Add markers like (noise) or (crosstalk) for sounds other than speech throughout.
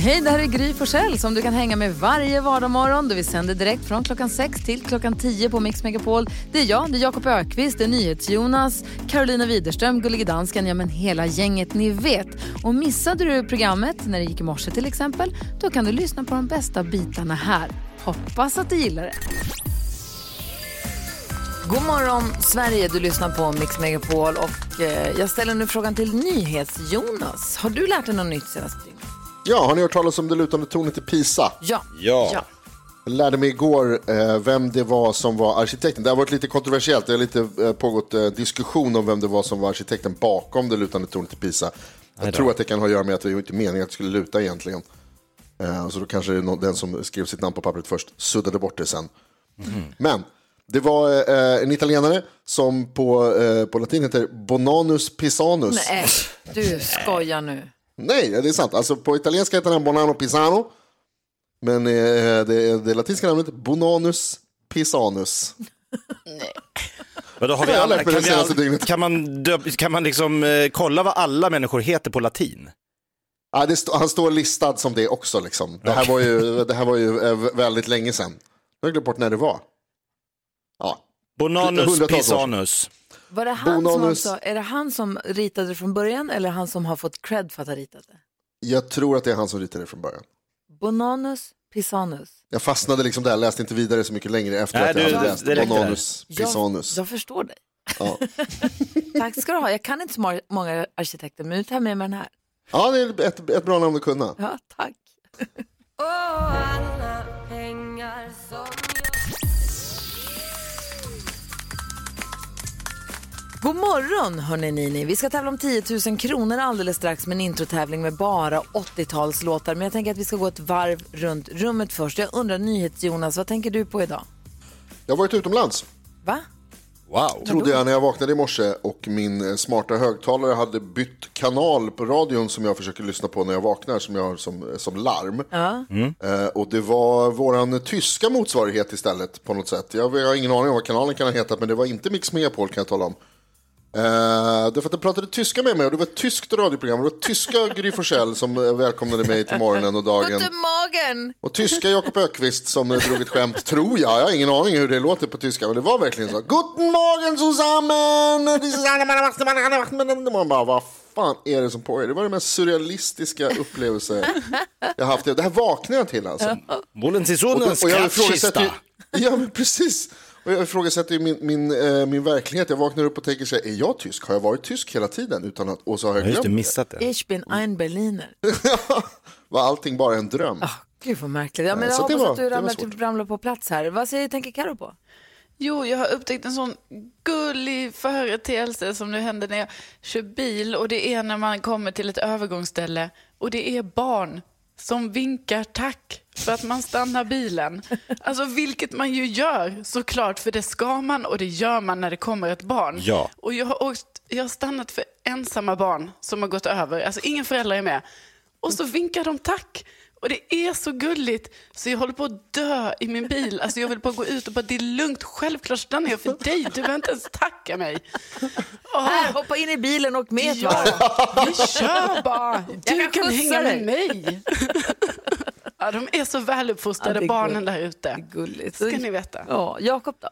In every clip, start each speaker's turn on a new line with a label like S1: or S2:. S1: Hej, det här är Gry Forssell som du kan hänga med varje vardagsmorgon. Vi sänder direkt från klockan 6 till klockan 10 på Mix Megapol. Det är jag, det är Jakob Ökvist, det är NyhetsJonas, Carolina Widerström, Gullige Dansken, ja men hela gänget ni vet. Och missade du programmet när det gick i morse till exempel, då kan du lyssna på de bästa bitarna här. Hoppas att du gillar det. God morgon Sverige, du lyssnar på Mix Megapol och eh, jag ställer nu frågan till NyhetsJonas. Har du lärt dig något nytt senaste dygnet?
S2: Ja, har ni hört talas om det lutande tornet i Pisa?
S1: Ja.
S3: Ja.
S2: Jag lärde mig igår eh, vem det var som var arkitekten. Det har varit lite kontroversiellt. Det har lite eh, pågått eh, diskussion om vem det var som var arkitekten bakom det lutande tornet i Pisa. Jag tror att det kan ha att göra med att det var inte meningen att det skulle luta egentligen. Eh, så då kanske det är någon, den som skrev sitt namn på pappret först suddade bort det sen. Men det var eh, en italienare som på, eh, på latin heter Bonanus Pisanus.
S1: Nej, du skojar nu.
S2: Nej, det är sant. Alltså, på italienska heter den Bonanno Pisano. Men eh, det, det latinska namnet Bonanus Pisanus.
S3: Men då har
S2: Det
S3: vi
S2: har jag
S3: alla,
S2: lärt mig
S3: kan,
S2: det
S3: vi
S2: senaste
S3: all,
S2: dygnet.
S3: kan man, döp, kan man liksom, eh, kolla vad alla människor heter på latin?
S2: Ja, det stå, han står listad som det också. Liksom. Det, här var ju, det här var ju eh, väldigt länge sedan. Nu har jag glömt bort när det var. Ja.
S3: Bonanus
S2: Hundratals år sedan.
S3: pisanus.
S1: Var det han som
S2: Bonanus.
S1: alltså, är det han som ritade det från början eller han som har fått cred för att ha ritat det?
S2: Jag tror att det är han som ritade det från början.
S1: Bonanus Pisanus.
S2: Jag fastnade liksom där, läste inte vidare så mycket längre efter
S3: Nej,
S2: att jag
S3: du-
S2: hade
S3: det-
S2: läst
S3: det räckte
S2: Bonanus
S1: Jag,
S2: Pisanus.
S1: jag förstår dig.
S2: Ja.
S1: (laughs) Tack ska du ha. Jag kan inte så ma- många arkitekter men nu tar jag med mig den här.
S2: ja, det är ett, ett bra namn att kunna.
S1: Ja, tack. God morgon hörni Nini. Vi ska tävla om 10 000 kronor alldeles strax med en introtävling med bara 80-talslåtar. Men jag tänker att vi ska gå ett varv runt rummet först. Jag undrar NyhetsJonas, vad tänker du på idag?
S2: Jag har varit utomlands.
S1: Va?
S3: Wow.
S2: trodde jag när jag vaknade i morse och min eh, smarta högtalare hade bytt kanal på radion som jag försöker lyssna på när jag vaknar som jag har som, som larm. Eh, och det var våran tyska motsvarighet istället på något sätt. Jag, jag har ingen aning om vad kanalen kan ha hetat men det var inte Mix Megapol kan jag tala om. Eh, därför att de pratade tyska med mig och det var ett tyskt radioprogram. Det var tyska Gry Forssell som eh, välkomnade mig till morgonen och dagen.
S1: Ont i magen!
S2: Och tyska Jakob Ökvist som eh, drog ett skämt, tror jag. Jag har ingen aning hur det låter på tyska, men det var verkligen så. Guten Morgen zusammen! This is Anna Maria Wachtel, Anna Maria Wachtel. Man bara, vad fan är det som pågår? Det var den mest surrealistiska upplevelse jag haft. Det här vaknade jag till alltså.
S3: Bullen till
S2: Och, då-
S3: sonen
S2: och jag ifrågasätter ju,
S3: skattkista.
S2: Ja, men precis. Och jag ifrågasätter ju min, min, eh, min verklighet. Jag vaknar upp och tänker så här, är jag tysk? Har jag varit tysk hela tiden? Utan att, och så har jag
S3: Ja, just
S2: glömt
S3: det, missat det.
S1: Ich bin ein Berliner.
S2: Var allting bara en dröm?
S1: Ah, Gud vad märkligt. Ja, men
S2: Nej,
S1: jag
S2: så det
S1: hoppas
S2: var-
S1: att du
S2: det var
S1: ramlar,
S2: svårt.
S1: typ, ramlar på plats här. Vad säger, tänker Karo på?
S4: Jo, jag har upptäckt en sån gullig företeelse som nu händer när jag kör bil och det är när man kommer till ett övergångsställe och det är barn som vinkar tack för att man stannar bilen. Alltså vilket man ju gör såklart, för det ska man och det gör man när det kommer ett barn.
S3: Ja.
S4: Och jag har, åkt, jag har stannat för ensamma barn som har gått över, alltså ingen förälder är med. Och så vinkar de tack. Och det är så gulligt, så jag håller på att dö i min bil. Alltså jag vill bara gå ut och bara, det är lugnt, självklart stannar jag för dig, du behöver inte ens tacka mig.
S1: Här,
S4: Åh,
S1: hoppa in i bilen och med ett varv.
S4: ja, vi kör bara, du
S1: Jag
S4: kan
S1: skjutsar
S4: hänga med
S1: dig.
S4: mig. Ja, de är så
S1: Ja,
S4: väluppfostrade,
S1: det är
S4: barnen
S1: gull-
S4: där ute.
S1: Gulligt.
S4: Ska ni veta.
S1: Ja, Jakob då?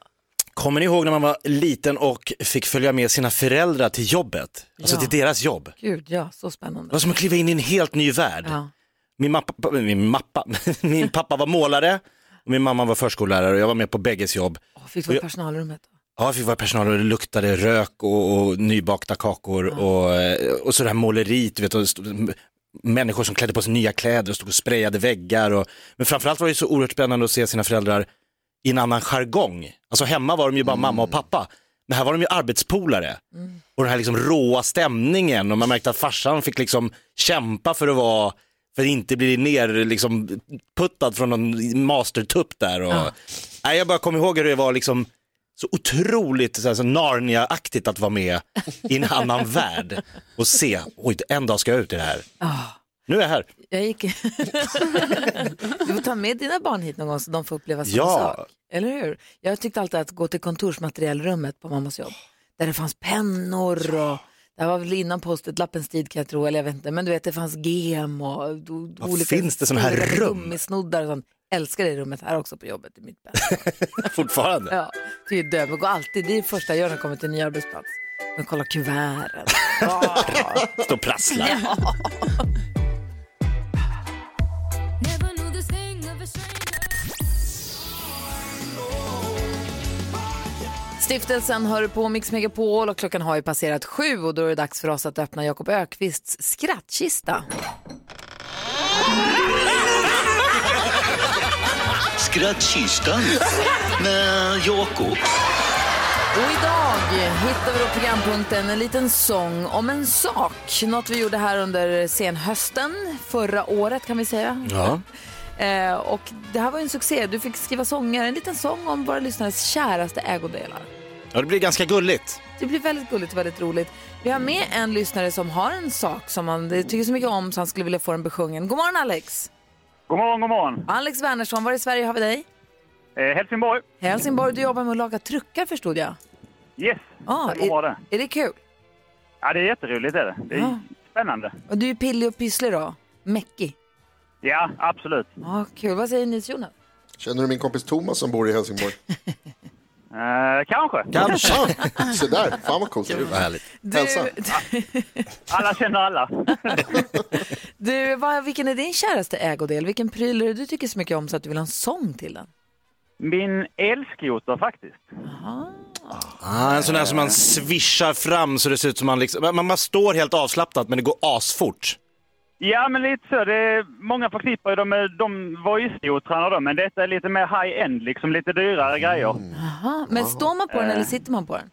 S3: Kommer ni ihåg när man var liten och fick följa med sina föräldrar till jobbet? Alltså
S1: Ja.
S3: till deras jobb. Det
S1: Gud, ja, så
S3: var
S1: spännande.
S3: som att kliva in i en helt ny värld.
S1: Ja.
S3: Min, mappa, min, mappa, (laughs) min pappa var målare och min mamma var förskollärare och jag var med på bägges jobb.
S1: Åh, fick vara i personalrummet. då?
S3: Ja, jag fick vara personal och det luktade rök och, och nybakta kakor och, eh, och så det här måleriet, du vet, och stod, m- människor som klädde på sig nya kläder och stod och sprayade väggar. Och, men framförallt var det ju så oerhört spännande att se sina föräldrar i en annan jargong. Alltså hemma var de ju bara mamma och pappa, men här var de ju arbetspolare. Och den här liksom råa stämningen och man märkte att farsan fick liksom kämpa för att vara för att inte bli ner liksom puttad från någon mastertupp där. Och... Nej, jag bara kommer ihåg hur det var liksom så otroligt så här, så Narnia-aktigt att vara med i en annan värld och se, oj, en dag ska jag ut i det här. Nu är jag här.
S1: Jag gick...
S3: (laughs)
S1: du får ta med dina barn hit någon gång så de får uppleva samma
S3: Ja.
S1: sak. Eller hur? Jag tyckte alltid att gå till kontorsmaterialrummet på mammas jobb. Där det fanns pennor och... Det här var väl innan post-it-lappens tid kan jag tro, eller jag vet inte. Men du vet, det fanns gem och do-
S3: Vad finns det såna här
S1: stora
S3: rum?
S1: Gummisnoddar och sånt. Älskar det rummet här också på jobbet. i mitt bästa.
S3: Fortfarande.
S1: Ja, du är döv och går alltid, det är det första jag gör när jag kommer till en ny arbetsplats. Men kolla kuverten.
S3: Står och prasslar.
S1: Stiftelsen hör på Mix Megapol och klockan har ju passerat sju och då är det dags för oss att öppna Jakob Ökvists skrattkista.
S5: Skrattkistan med Jakob.
S1: Och idag hittar vi då programpunkten En liten sång om en sak. Något vi gjorde här under senhösten, förra året kan vi säga.
S3: Ja.
S1: Eh, och det här var ju en succé. Du fick skriva sånger, en liten sång om våra lyssnares käraste ägodelar.
S3: ja, det blir ganska gulligt.
S1: Det blir väldigt gulligt och väldigt roligt. Vi har med en lyssnare som har en sak som han tycker så mycket om så han skulle vilja få den besjungen. God morgon Alex!
S6: God morgon, god morgon.
S1: Alex Wernersson, var i Sverige har vi dig?
S6: Eh, Helsingborg.
S1: Helsingborg, du jobbar med att laga truckar förstod jag.
S6: Yes,
S1: Ja,
S6: stämmer bra det.
S1: är, är det kul?
S6: Ja, det är jätteroligt. Är det. det är
S1: Ja.
S6: spännande.
S1: Och du är pillig och pysslig då? Mäckig?
S6: Ja, absolut.
S1: Ja, kul. Vad säger ni Jonas?
S2: Känner du min kompis Thomas som bor i Helsingborg?
S6: Eh, kanske.
S3: Kanske.
S2: Se där, fan vad coolt.
S3: Vad härligt.
S2: Hälsa.
S6: Alla känner alla. (laughs)
S1: Du, vad, vilken är din käraste ägodel? Vilken pryl är det du tycker så mycket om så att du vill ha en sång till den?
S6: Min elskoter faktiskt.
S3: Ah, en sån där som man svischar fram så det ser ut som man liksom, man, man står helt avslappnat men det går asfort.
S6: Ja, men lite så. Det är, många förknippar ju dem med de voice-skotrarna då, men detta är lite mer high-end, liksom lite dyrare grejer.
S1: Mm. Jaha, men står man på den eller sitter man på den?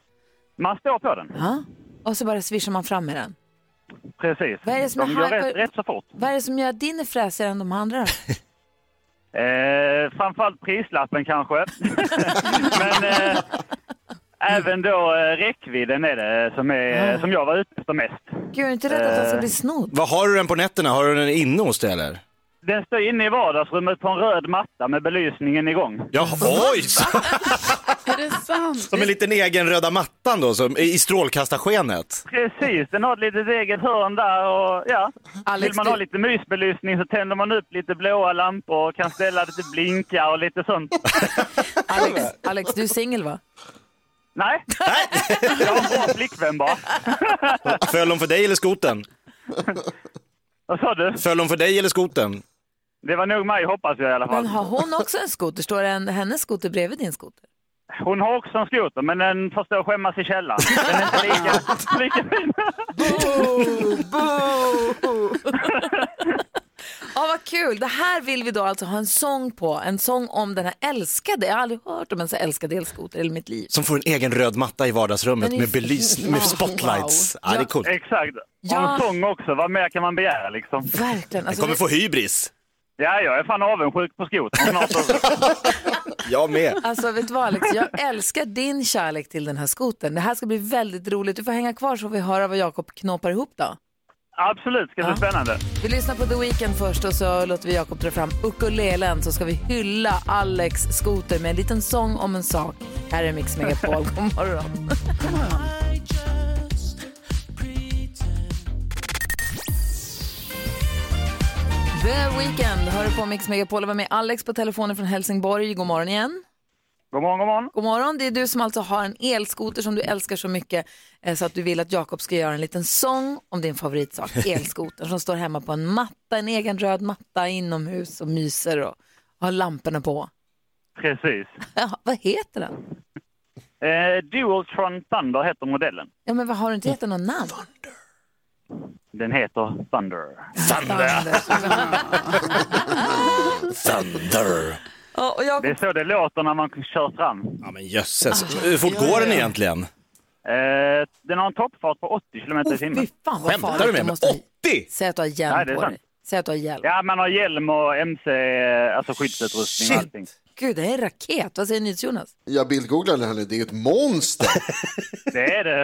S6: Man står på den.
S1: Ja. Och så bara svischar man fram med den.
S6: Precis.
S1: Vad är det som är
S6: de går
S1: high-
S6: rätt, rätt så fort.
S1: Vad är det som gör att din är fräsigare än de andra då?
S6: Eh, framförallt prislappen kanske. Men eh, även då eh, räckvidden är det som, är, som jag var ute efter mest.
S1: Gud, jag är inte rädd att den ska bli
S3: Eh. (laughs)
S1: snodd.
S3: Vad har du den på nätterna? Har du den inne hos dig eller?
S6: Den står inne i vardagsrummet på en röd matta med belysningen igång.
S3: Ja, oj! Så,
S7: Är det sant?
S3: som en liten egen röda mattan då, som, i strålkastarskenet.
S6: Precis, den har ett litet eget hörn där och ja.
S1: Alex,
S6: Vill man
S1: du-
S6: ha lite mysbelysning så tänder man upp lite blåa lampor och kan ställa lite blinkar och lite sånt.
S1: Alex, Alex (laughs) du är singel va?
S6: Nej, jag har en bra flickvän bara.
S3: Föll hon för dig eller skoten?
S6: Vad sa du?
S3: Föll hon för dig eller skoten?
S6: Det var nog mig hoppas jag i alla fall.
S1: Men har hon också en skoter? Står en, hennes skoter bredvid din skoter?
S6: Hon har också en skoter men den får stå och skämmas i källaren. Den är inte lika, lika fin.
S1: Ja, vad kul. Det här vill vi då alltså ha en sång på. En sång om den här älskade. Jag har aldrig hört om en så älskad elskoter i mitt liv.
S3: Som får en egen röd matta i vardagsrummet
S1: Den är
S3: med, belys,
S1: fin.
S3: med spotlights.
S1: Wow.
S3: Ja, det är coolt.
S6: Exakt. Och
S1: Ja.
S6: en sång också, vad mer kan man begära liksom?
S1: Verkligen.
S3: Jag
S1: Alltså,
S3: kommer få hybris.
S6: Ja, jag är fan avundsjuk på skotern
S1: (laughs)
S6: snart också.
S3: Jag med.
S1: Alltså vet du vad Alex, jag älskar din kärlek till den här skoten. Det här ska bli väldigt roligt. Du får hänga kvar så får vi höra vad Jakob knåpar ihop då.
S6: Absolut, ska bli spännande.
S1: Vi lyssnar på The Weeknd först och så låter vi Jakob dra fram ukulelen så ska vi hylla Alex skoter med en liten sång om en sak. Här är Mix Megapol. God morgon. (laughs) The Weeknd hör du på Mix Megapol och var med Alex på telefonen från Helsingborg. God morgon igen.
S6: God morgon, god morgon.
S1: God morgon, det är du som alltså har en elskoter som du älskar så mycket eh, så att du vill att Jakob ska göra en liten sång om din (laughs) favoritsak, elskoter som står hemma på en matta, en egen röd matta inomhus och myser och har lamporna på.
S6: Precis.
S1: Ja, vad heter den?
S6: Eh, Dualtron Thunder heter modellen.
S1: Ja, men vad har du inte gett den något namn?
S6: Den heter Thunder.
S3: Thunder. Thunder.
S1: Ja, och
S6: Det är
S1: Jakob,
S6: så det låter när man kör fram.
S3: Ja men
S1: Ah.
S3: jösses. Hur fort går den egentligen?
S6: Eh, den har en toppfart på 80 km i
S1: oh, fy
S6: timmen.
S1: fan vad
S3: Skämtar du
S1: farligt det
S3: med mig?
S1: måste bli.
S3: 80?
S1: Säg att du har
S6: Nej,
S1: hjälm
S6: det är
S1: på
S6: sant.
S1: dig. Säg att du har hjälm.
S6: Ja, man har hjälm och MC, eh, alltså skyddsutrustning och allting.
S1: Gud, det här är en raket. Vad säger NyhetsJonas?
S2: Jag bildgooglade henne, det är ju ett monster.
S6: Det är det.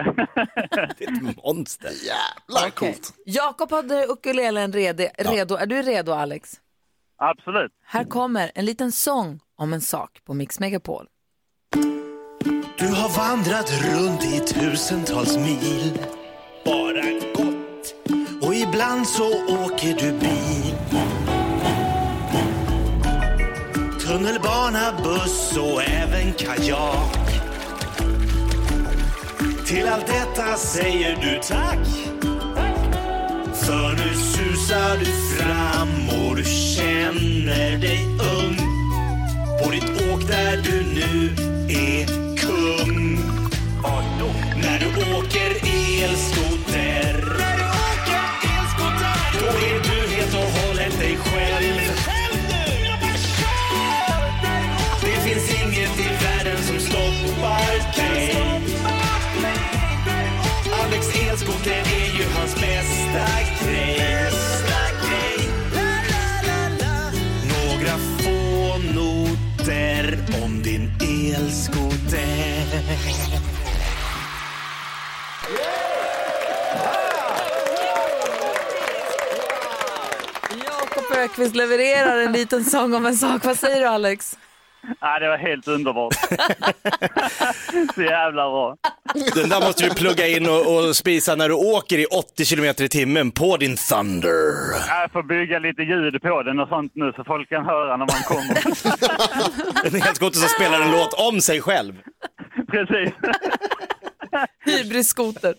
S6: (laughs)
S3: Ett monster.
S2: Jävlar coolt.
S1: Jakob hade ukulelen redo. redo. Är du redo, Alex?
S6: Absolut.
S1: Här kommer en liten sång om en sak på Mix Megapol.
S8: Du har vandrat runt i tusentals mil Bara gått Och ibland så åker du bil Tunnelbana, buss och även kajak Till allt detta säger du tack För nu susar du fram och du känner dig ung på ditt åk där du nu är kung. När du åker elskoter, då är du helt och hållet dig själv. Det finns inget i världen som stoppar dig. Alex elskoter är ju hans bästa grej. Några få noter om din elskoter.
S1: Jakob Ökvist levererar en liten sång om en sak. Vad säger du, Alex?
S6: Ja, det var helt underbart. Så jävla bra.
S3: Den där måste du plugga in och, och spisa när du åker i 80 kilometer i timmen på din Thunder.
S6: Jag får bygga lite ljud på den och sånt nu så folk kan höra när man kommer.
S3: En elskoter som spelar en låt om sig själv.
S6: Precis.
S1: Hybris-skoter.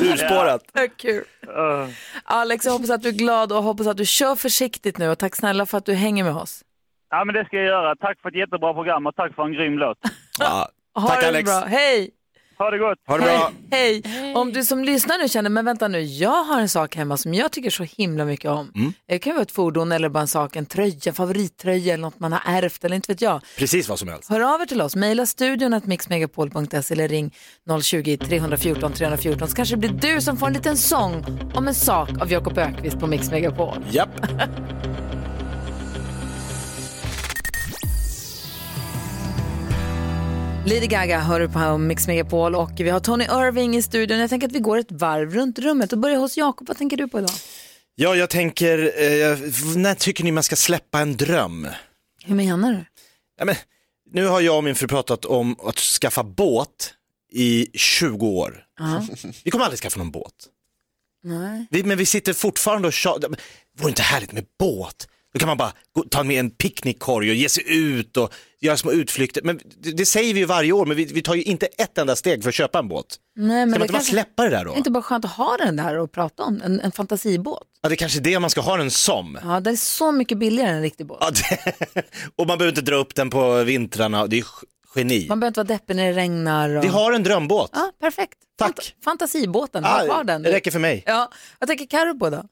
S3: Urspårat.
S1: Vad Kul.
S6: Eh,
S1: Alex, jag hoppas att du är glad och hoppas att du kör försiktigt nu. Och tack snälla för att du hänger med oss.
S6: Ja, men det ska jag göra. Tack för ett jättebra program och tack för en grym låt.
S3: Ja.
S1: Ha
S3: Tack
S1: det
S3: Alex.
S1: bra. Hej!
S6: Ha det gott!
S3: Ha det bra.
S1: Hej. Om du som lyssnar nu känner, men vänta nu, jag har en sak hemma som jag tycker så himla mycket om.
S3: Mm.
S1: Det kan vara ett fordon eller bara en sak, en tröja, en favorittröja eller något man har ärvt eller inte vet jag.
S3: Precis vad som helst.
S1: Hör av er till oss, mejla studion att mixmegapol.se eller ring 020-314 314 så kanske det blir du som får en liten sång om en sak av Jakob Ökvist på Mix Megapol.
S3: Japp.
S1: Lady Gaga hör du på Mix Megapol och vi har Tony Irving i studion. Jag tänker att vi går ett varv runt rummet och börjar hos Jakob. Vad tänker du på idag?
S3: Ja, jag tänker, eh, när tycker ni man ska släppa en dröm?
S1: Hur menar du?
S3: Ja, men, nu har jag och min fru pratat om att skaffa båt i 20 år. Vi kommer aldrig skaffa någon båt.
S1: Nej.
S3: Vi, men vi sitter fortfarande och tjatar. Men Vore inte härligt med båt? Då kan man bara gå, ta med en picknickkorg och ge sig ut och göra små utflykter. Men det, det säger vi ju varje år, men vi, vi tar ju inte ett enda steg för att köpa en båt.
S1: Nej, men
S3: Ska man
S1: det
S3: inte bara
S1: kanske-
S3: släppa det där då?
S1: Det är inte bara skönt att ha den där och prata om, en, en fantasibåt.
S3: Ja, det är kanske är det man ska ha den som.
S1: Ja, det är så mycket billigare än en riktig båt.
S3: Ja, det... Och man behöver inte dra upp den på vintrarna, det är g- geni.
S1: Man behöver inte vara deppig när det regnar. Och...
S3: Vi har en drömbåt.
S1: Ja, perfekt.
S3: Tack.
S1: fantasibåten, ha kvar den.
S3: det räcker för mig.
S1: Ja, vad tänker Carro på då?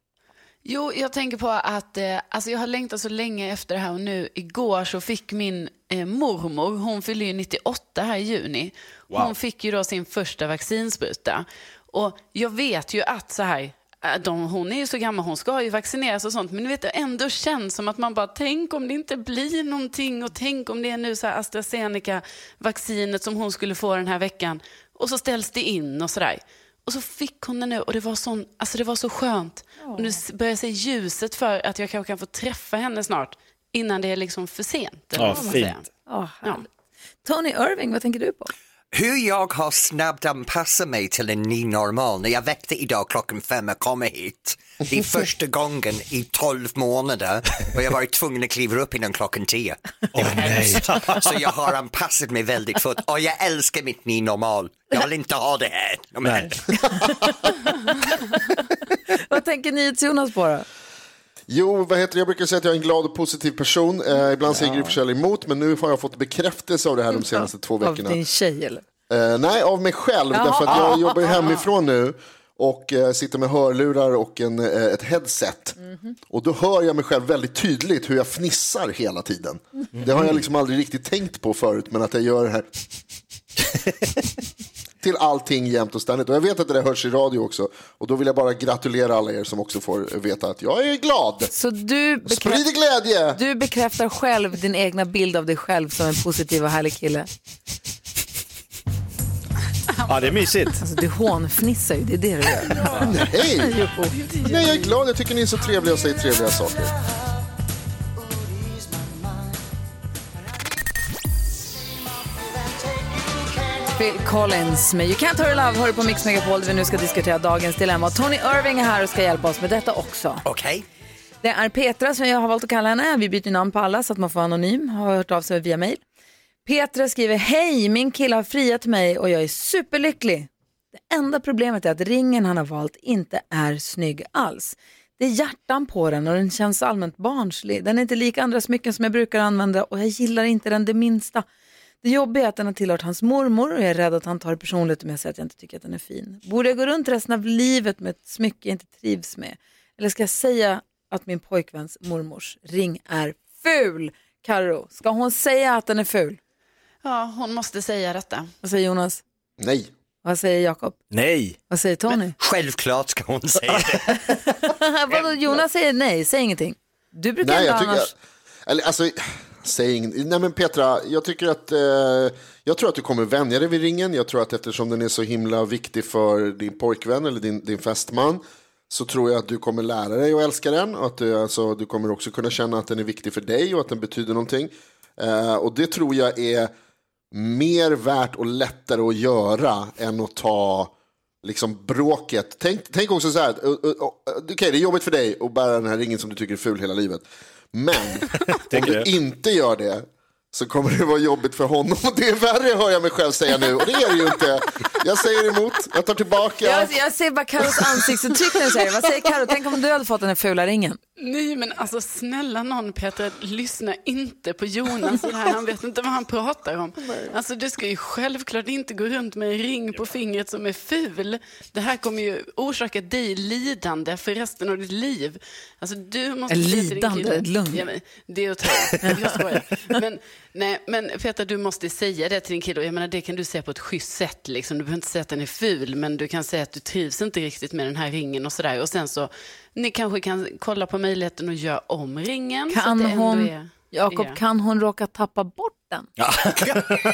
S4: Jo, jag tänker på att eh, alltså jag har längtat så länge efter det här och nu igår så fick min eh, mormor, hon fyller ju 98 här i juni, hon fick ju då sin första vaccinspruta. Och jag vet ju att så här, eh, de, hon är ju så gammal, hon ska ju vaccineras och sånt, men du vet det ändå känns som att man bara, tänk om det inte blir någonting och tänk om det är nu så här AstraZeneca-vaccinet som hon skulle få den här veckan och så ställs det in och sådär. Och så fick hon den nu och det var, sån, alltså det var så skönt. Och nu s- börjar jag se ljuset för att jag kanske kan få träffa henne snart innan det är liksom för sent. eller
S3: Ja,
S4: vad man säger.
S3: fint.
S1: Oh,
S4: Ja.
S1: Tony Irving, vad tänker du på?
S8: Hur jag har snabbt anpassat mig till en ny normal när jag väckte idag klockan fem och kommer hit. Det är första gången i tolv månader och jag har varit tvungen att kliva upp innan klockan tio. Det var hemskt. Så jag har anpassat mig väldigt fort och jag älskar mitt ny normal. Jag vill inte ha det här.
S3: Nej.
S1: vad tänker ni till Jonas på då?
S2: Jo, vad heter det? Jag brukar säga att jag är en glad och positiv person. Eh, ibland säger Gry Forssell emot, men nu har jag fått bekräftelse av det här de senaste två
S1: Av
S2: veckorna.
S1: din tjej eller?
S2: Eh, nej, av mig själv.
S1: Jaha. Ah,
S2: Därför att jag jobbar ju hemifrån nu och eh, sitter med hörlurar och en, eh, ett headset.
S1: Mhm.
S2: Och då hör jag mig själv väldigt tydligt hur jag fnissar hela tiden.
S1: Mhm. (laughs)
S2: Det har jag liksom aldrig riktigt tänkt på förut, men att jag gör det här. till allting jämt och ständigt. Och jag vet att det där hörs i radio också. Och då vill jag bara gratulera alla er som också får veta att jag är glad.
S1: Så du,
S2: Sprid glädje!
S1: du bekräftar själv din egna bild av dig själv som en positiv och härlig kille.
S3: Ja, det är mysigt.
S1: Alltså, du hånfnissar ju, det är det du gör.
S2: Nej.
S1: (laughs) Jo.
S2: Nej, jag är glad. Jag tycker ni är så trevliga och säger trevliga saker.
S1: Phil Collins med You Can't Hurry Love hör du på Mix Megapol där vi nu ska diskutera dagens dilemma. Och Tony Irving är här och ska hjälpa oss med detta också.
S8: Okej.
S1: Det är Petra som jag har valt att kalla henne. Vi byter namn på alla så att man får vara anonym. Har hört av sig via mejl. Petra skriver, hej min kille har friat mig och jag är superlycklig. Det enda problemet är att ringen han har valt inte är snygg alls. Det är hjärtan på den och den känns allmänt barnslig. Den är inte lik andra smycken som jag brukar använda och jag gillar inte den det minsta. Det jobbiga är att den har tillhört hans mormor och jag är rädd att han tar det personligt om jag säger att jag inte tycker att den är fin. Borde jag gå runt resten av livet med ett smycke jag inte trivs med? Eller ska jag säga att min pojkväns mormors ring är ful? Karo, ska hon säga att den är ful?
S4: Ja, hon måste säga detta.
S1: Vad säger Jonas?
S2: Nej.
S1: Vad säger Jakob?
S3: Nej.
S1: Vad säger Tony?
S8: Självklart ska hon säga det.
S1: (laughs) Vadå, Jonas säger nej, säg ingenting. Du brukar
S2: Nej,
S1: ändå
S2: jag tycker...
S1: annars...
S2: Eller, alltså, säg ingen... Nej, men Petra, jag tycker att... Eh, jag tror att du kommer vänja dig vid ringen. Jag tror att eftersom den är så himla viktig för din pojkvän eller din, din fästman så tror jag att du kommer lära dig att älska den. Och att du, alltså, du kommer också kunna känna att den är viktig för dig och att den betyder någonting. Eh, och det tror jag är mer värt och lättare att göra än att ta liksom bråket. Tänk, tänk också så här, att, uh, uh, uh, okej det är jobbigt för dig att bära den här ringen som du tycker är ful hela livet. Men om du
S3: det.
S2: inte gör det så kommer det vara jobbigt för honom. (laughs) Och det är värre hör jag mig själv säga nu och det är det ju inte. Jag säger emot, jag tar tillbaka.
S1: Jag, jag ser bara Karos ansiktsuttryck när du säger det. Vad säger Karo? Tänk om du hade fått den här fula ringen.
S4: Nej, men alltså snälla någon Petra, lyssna inte på Jonas. Det här. Han vet inte vad han pratar om. Alltså du ska ju självklart inte gå runt med en ring på fingret som är ful. Det här kommer ju orsaka dig lidande för resten av ditt liv. Alltså du måste...
S1: En
S4: säga till din
S1: lidande,
S4: kille-
S1: ett lugn.
S4: Ja, men, det är att ta i. Jag skojar. Men, nej, men Petra, du måste säga det till din kille. Och Jag menar, det kan du säga på ett schysst sätt. Liksom. Du behöver inte säga att den är ful, men du kan säga att du trivs inte riktigt med den här ringen och sådär. Och sen så, ni kanske kan kolla på möjligheten att göra om ringen. så att
S1: Kan
S4: det ändå
S1: hon,
S4: är-
S1: Jakob,
S4: är-
S1: kan hon råka tappa bort den?
S3: (laughs)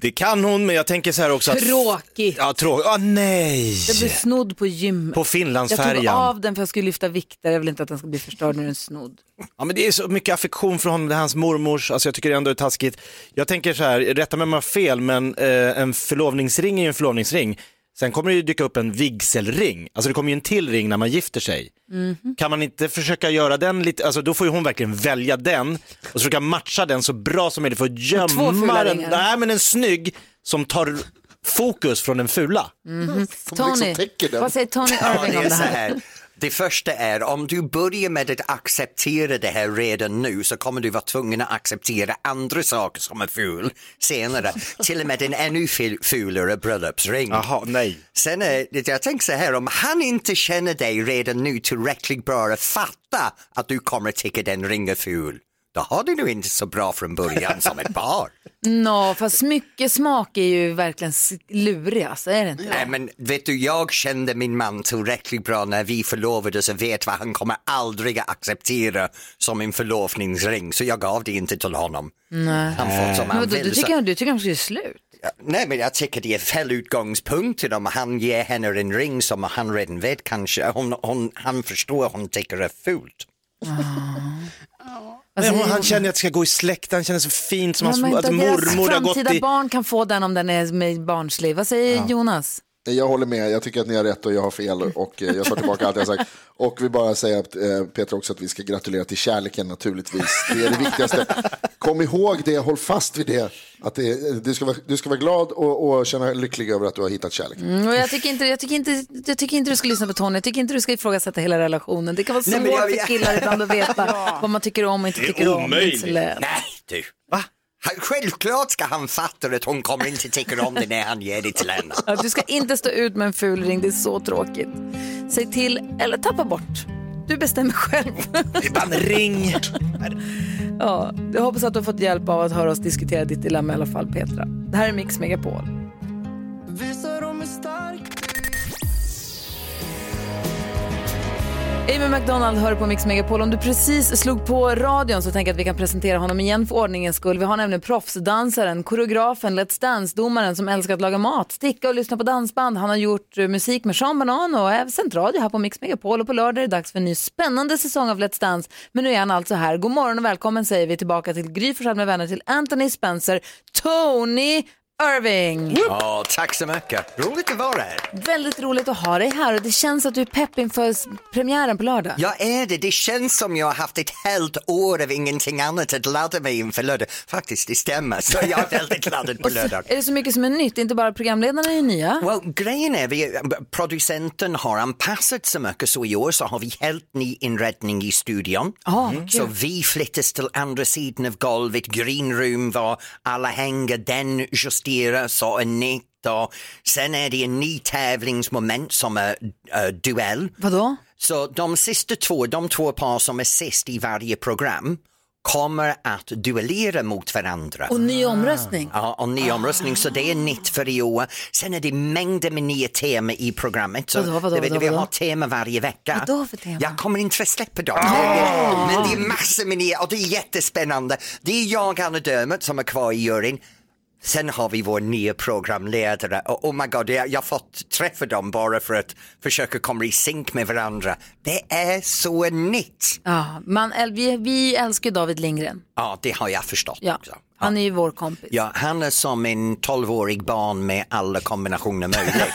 S3: Det kan hon, men jag tänker så här också att...
S1: Tråkigt.
S3: Ja, tråkigt. Ah, nej!
S1: Jag blev snodd på gym.
S3: På
S1: jag tog
S3: Finlandsfärjan.
S1: av den för jag skulle lyfta vikter. Jag vill inte att den ska bli förstörd när den är snodd.
S3: Ja, men det är så mycket affektion för honom, det är hans mormors, alltså jag tycker ändå det är taskigt. Jag tänker så här, rätta mig om jag har fel, men eh, en förlovningsring är ju en förlovningsring. Sen kommer det ju dyka upp en vigselring, alltså det kommer ju en till ring när man gifter sig.
S1: Mhm.
S3: Kan man inte försöka göra den lite, alltså då får ju hon verkligen välja den och så försöka matcha den så bra som möjligt för
S1: två
S3: att
S1: fula
S3: gömma den.
S1: ringar.
S3: Nej men en snygg som tar fokus från den fula.
S2: Som liksom
S1: Tony,
S2: täcker den.
S1: vad säger Tony
S8: Ja,
S1: Irving
S8: det,
S1: om
S8: är
S1: det
S8: så
S1: här?
S8: här. det första är om du börjar med att acceptera det här redan nu så kommer du vara tvungen att acceptera andra saker som är ful senare. Till och med en ännu ful- fulare bröllopsring.
S3: (laughs) Jaha, nej.
S8: Sen är det, jag tänker så här, om han inte känner dig redan nu tillräckligt bra att fatta att du kommer tycka den ringer ful, då har du nog inte så bra från början som ett par.
S1: Nå, fast mycket smak är ju verkligen s- lurig, alltså, är det inte?
S8: Nej men vet du, jag kände min man tillräckligt bra när vi förlovades och vet vad han kommer aldrig att acceptera som en förlovningsring så jag gav det inte till honom. Han får som
S1: Men
S8: han
S1: vadå, du
S8: vill.
S1: tycker,
S8: Så,
S1: jag- du tycker han ska göra slut?
S8: nej men jag tycker det är fel utgångspunkt till om han ger henne en ring som han redan vet kanske, hon, hon, han förstår hon tycker är fult.
S1: Alltså,
S3: nej
S1: det är
S3: hon, han
S1: ju-
S3: känner att det ska gå i släkt, han känner så fint som
S1: Ja,
S3: hans,
S1: men
S3: att
S1: inte deras
S3: mormor har gått
S1: framtida
S3: i...
S1: barn kan få den om den är med barnslig. Vad säger Jonas?
S2: Nej, Jag håller med, jag tycker att ni har rätt och jag har fel och eh, jag tar tillbaka allt jag har sagt. Och vi bara säga att eh, Petra också att vi ska gratulera till kärleken naturligtvis. Det är det viktigaste. Kom ihåg det, håll fast vid det. Att det eh, du, ska vara, du ska vara glad och, och känna dig lycklig över att du har hittat kärleken.
S1: Mm, och jag, tycker inte, jag, tycker inte, jag tycker inte du ska lyssna på Tony, jag tycker inte du ska ifrågasätta hela relationen. Det kan vara
S8: Nej, men
S1: svårt
S8: jag-
S1: för killar ibland att veta vad man tycker om och inte
S3: Det är
S1: tycker om. Det är inte så
S3: omöjligt.
S1: lätt.
S8: Nej du, va? Han- Självklart ska han fatta att hon kommer inte tycka om det när han ger det till henne.
S1: Ja, du ska inte stå ut med en ful ring, det är så tråkigt. Säg till eller tappa bort. Du bestämmer själv. (laughs)
S3: Det är bara en ring.
S1: Ja, jag hoppas att du har fått hjälp av att höra oss diskutera ditt dilemma i alla fall, Petra. Det här är Mix Megapol.
S9: Visa dem hur stark
S1: Amy McDonald hör på Mix Megapol. Om du precis slog på radion så tänker jag att vi kan presentera honom igen för ordningens skull. Vi har nämligen proffsdansaren, koreografen, Let's Dance-domaren som älskar att laga mat, sticka och lyssna på dansband. Han har gjort eh, musik med Sean Banan och även sänt radio här på Mix Megapol. Och på lördag är det dags för en ny spännande säsong av Let's Dance. Men nu är han alltså här. God morgon och välkommen säger vi tillbaka till Gry Forssell med vänner till Anthony Spencer, Tony Irving.
S8: Ja, tack så mycket. Roligt att vara här.
S1: Väldigt roligt att ha dig här och det känns att du är pepp inför s- premiären på lördag.
S8: Jag är det. Det känns som jag har haft ett helt år av ingenting annat att ladda mig inför lördag. Faktiskt, det stämmer. Så jag är
S1: (laughs)
S8: väldigt laddad på lördag.
S1: Är det så mycket som är nytt? Inte bara programledarna är nya.
S8: Well, grejen är vi producenten har anpassat så mycket så i år så har vi helt ny inredning i studion.
S1: Ah, Mm.
S8: Så
S1: kul.
S8: vi flyttas till andra sidan av golvet, green room var alla hänger, den justeras och är nytt. Och sen är det en ny tävlingsmoment som är eh, duell.
S1: Vadå?
S8: Så de sista två, de två par som är sist i varje program kommer att duellera mot varandra.
S1: Och ny omröstning.
S8: Ja, och ny omröstning, så det är nytt för i år. Sen är det mängder med nya tema i programmet. Så
S1: Vadå, vadå,
S8: det vet
S1: vadå,
S8: du, vi
S1: vadå?
S8: har tema varje vecka.
S1: Vadå för tema?
S8: Jag kommer inte att släppa dem. Men det är massor med nya och det är jättespännande. Det är jag, Anna Dermot, som är kvar i juryn. Sen har vi vår nya programledare. Och oh my god, jag jag har fått träffa dem bara för att försöka komma i synk med varandra. Det är så nytt.
S1: Ja, man, äl- vi, vi älskar ju David Lindgren.
S8: Ja, det har jag förstått.
S1: Ja. Han är ju vår kompis.
S8: Ja, han är som en 12-årig barn med alla kombinationer möjliga.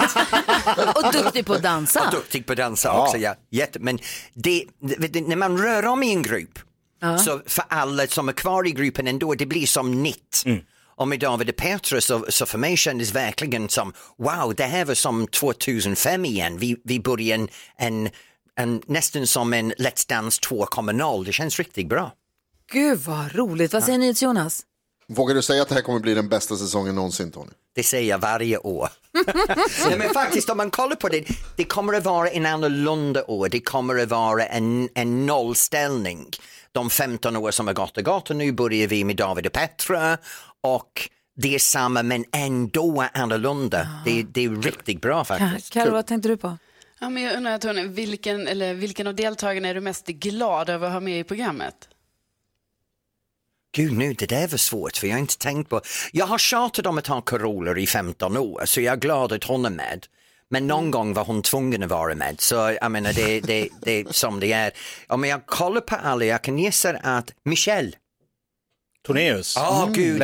S1: Och duktig på att dansa.
S8: Och duktig på att dansa också. Ja. Jätte, men det, vet du, när man rör om i en grupp,
S1: Ja.
S8: så för alla som är kvar i gruppen ändå, det blir som nytt.
S1: Mm.
S8: Och med David och Petra så, så för mig kändes verkligen som, wow, det här var som 2005 igen. Vi, vi började en, en, en, nästan som en Let's Dance 2.0. Det känns riktigt bra.
S1: Gud vad roligt. Vad säger ni till Jonas?
S2: Vågar du säga att det här kommer bli den bästa säsongen någonsin Tony?
S8: Det säger jag varje (laughs) år. Nej, men faktiskt om man kollar på det, det kommer att vara en annorlunda år. Det kommer att vara en, en nollställning. De 15 år som har gått och gått och nu börjar vi med David och Petra och det är samma men ändå annorlunda. Det, det är riktigt bra faktiskt.
S1: Carro, vad tänkte du på?
S4: Ja, men jag undrar, Tony, vilken, eller vilken av deltagarna är du mest glad över att ha med i programmet?
S8: Gud nu, det där var svårt för jag har inte tänkt på. Jag har tjatat om att ha Carola i 15 år så jag är glad att hon är med. Men någon gång var hon tvungen att vara med så jag menar det, det, det är som det är. Om jag kollar på alla, jag kan gissa att Michelle
S3: Tornéus.
S8: Ja,
S3: Mm.
S8: gud ja. Det